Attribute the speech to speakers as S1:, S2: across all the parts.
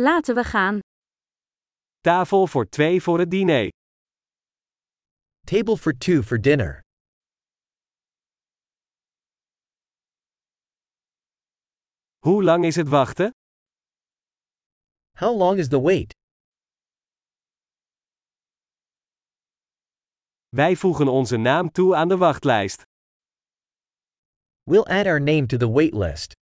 S1: Laten we gaan.
S2: Tafel voor twee voor het diner.
S3: Table for two for dinner.
S2: Hoe lang is het wachten?
S3: How long is the wait?
S2: Wij voegen onze naam toe aan de wachtlijst.
S3: We'll add our name to the wait list.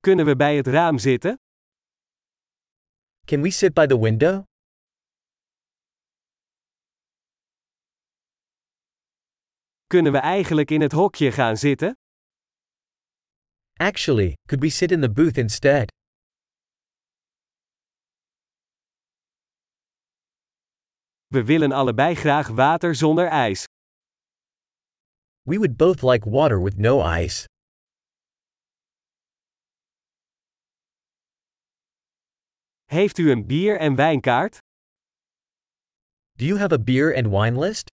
S2: Kunnen we bij het raam zitten?
S3: Can we sit by the window?
S2: Kunnen we eigenlijk in het hokje gaan zitten?
S3: Actually, could we sit in the booth instead?
S2: We willen allebei graag water zonder ijs.
S3: We would both like water with no ice.
S2: Heeft u een bier- en wijnkaart?
S3: Do you have a beer and wine list?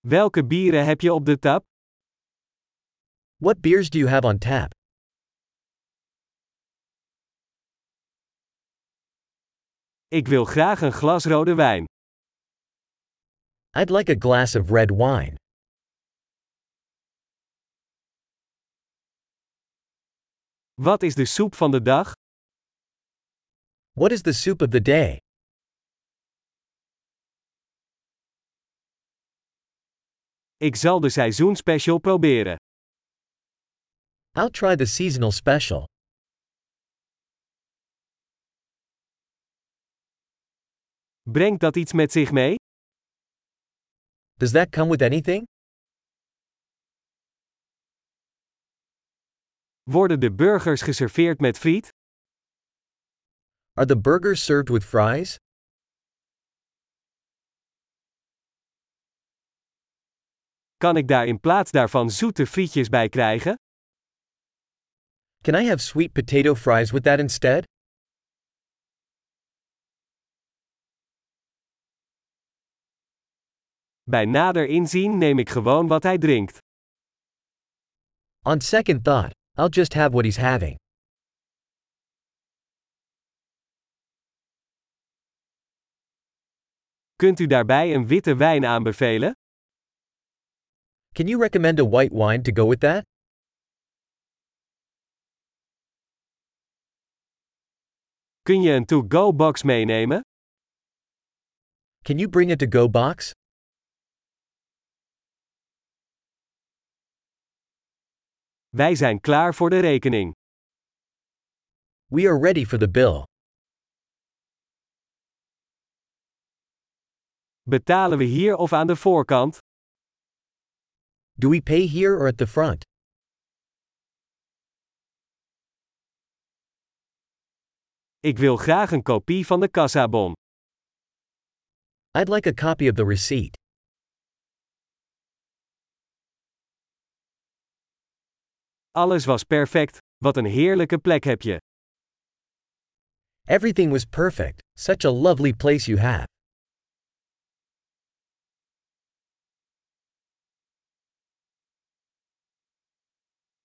S2: Welke bieren heb je op de tap?
S3: What beers do you have on tap?
S2: Ik wil graag een glas rode wijn.
S3: I'd like a glass of red wine.
S2: Wat is de soep van de dag?
S3: What is the soup of the day?
S2: Ik zal de seizoenspecial proberen.
S3: I'll try the seasonal special.
S2: Brengt dat iets met zich mee?
S3: Does that come with anything?
S2: Worden de burgers geserveerd met friet?
S3: Are the burgers served with fries?
S2: Kan ik daar in plaats daarvan zoete frietjes bij krijgen?
S3: Can I have sweet potato fries with that instead?
S2: Bij nader inzien neem ik gewoon wat hij drinkt.
S3: On second thought, I'll just have what he's having.
S2: Kunt u daarbij een witte wijn aanbevelen?
S3: Can you recommend a white wine to go with that?
S2: Kun je een to-go box meenemen?
S3: Can you bring a to go box?
S2: Wij zijn klaar voor de rekening.
S3: We are ready for the bill.
S2: Betalen we hier of aan de voorkant?
S3: Do we pay here or at the front?
S2: Ik wil graag een kopie van de kassabon.
S3: I'd like a copy of the receipt.
S2: Alles was perfect. Wat een heerlijke plek heb je.
S3: Everything was perfect, such a lovely place you have.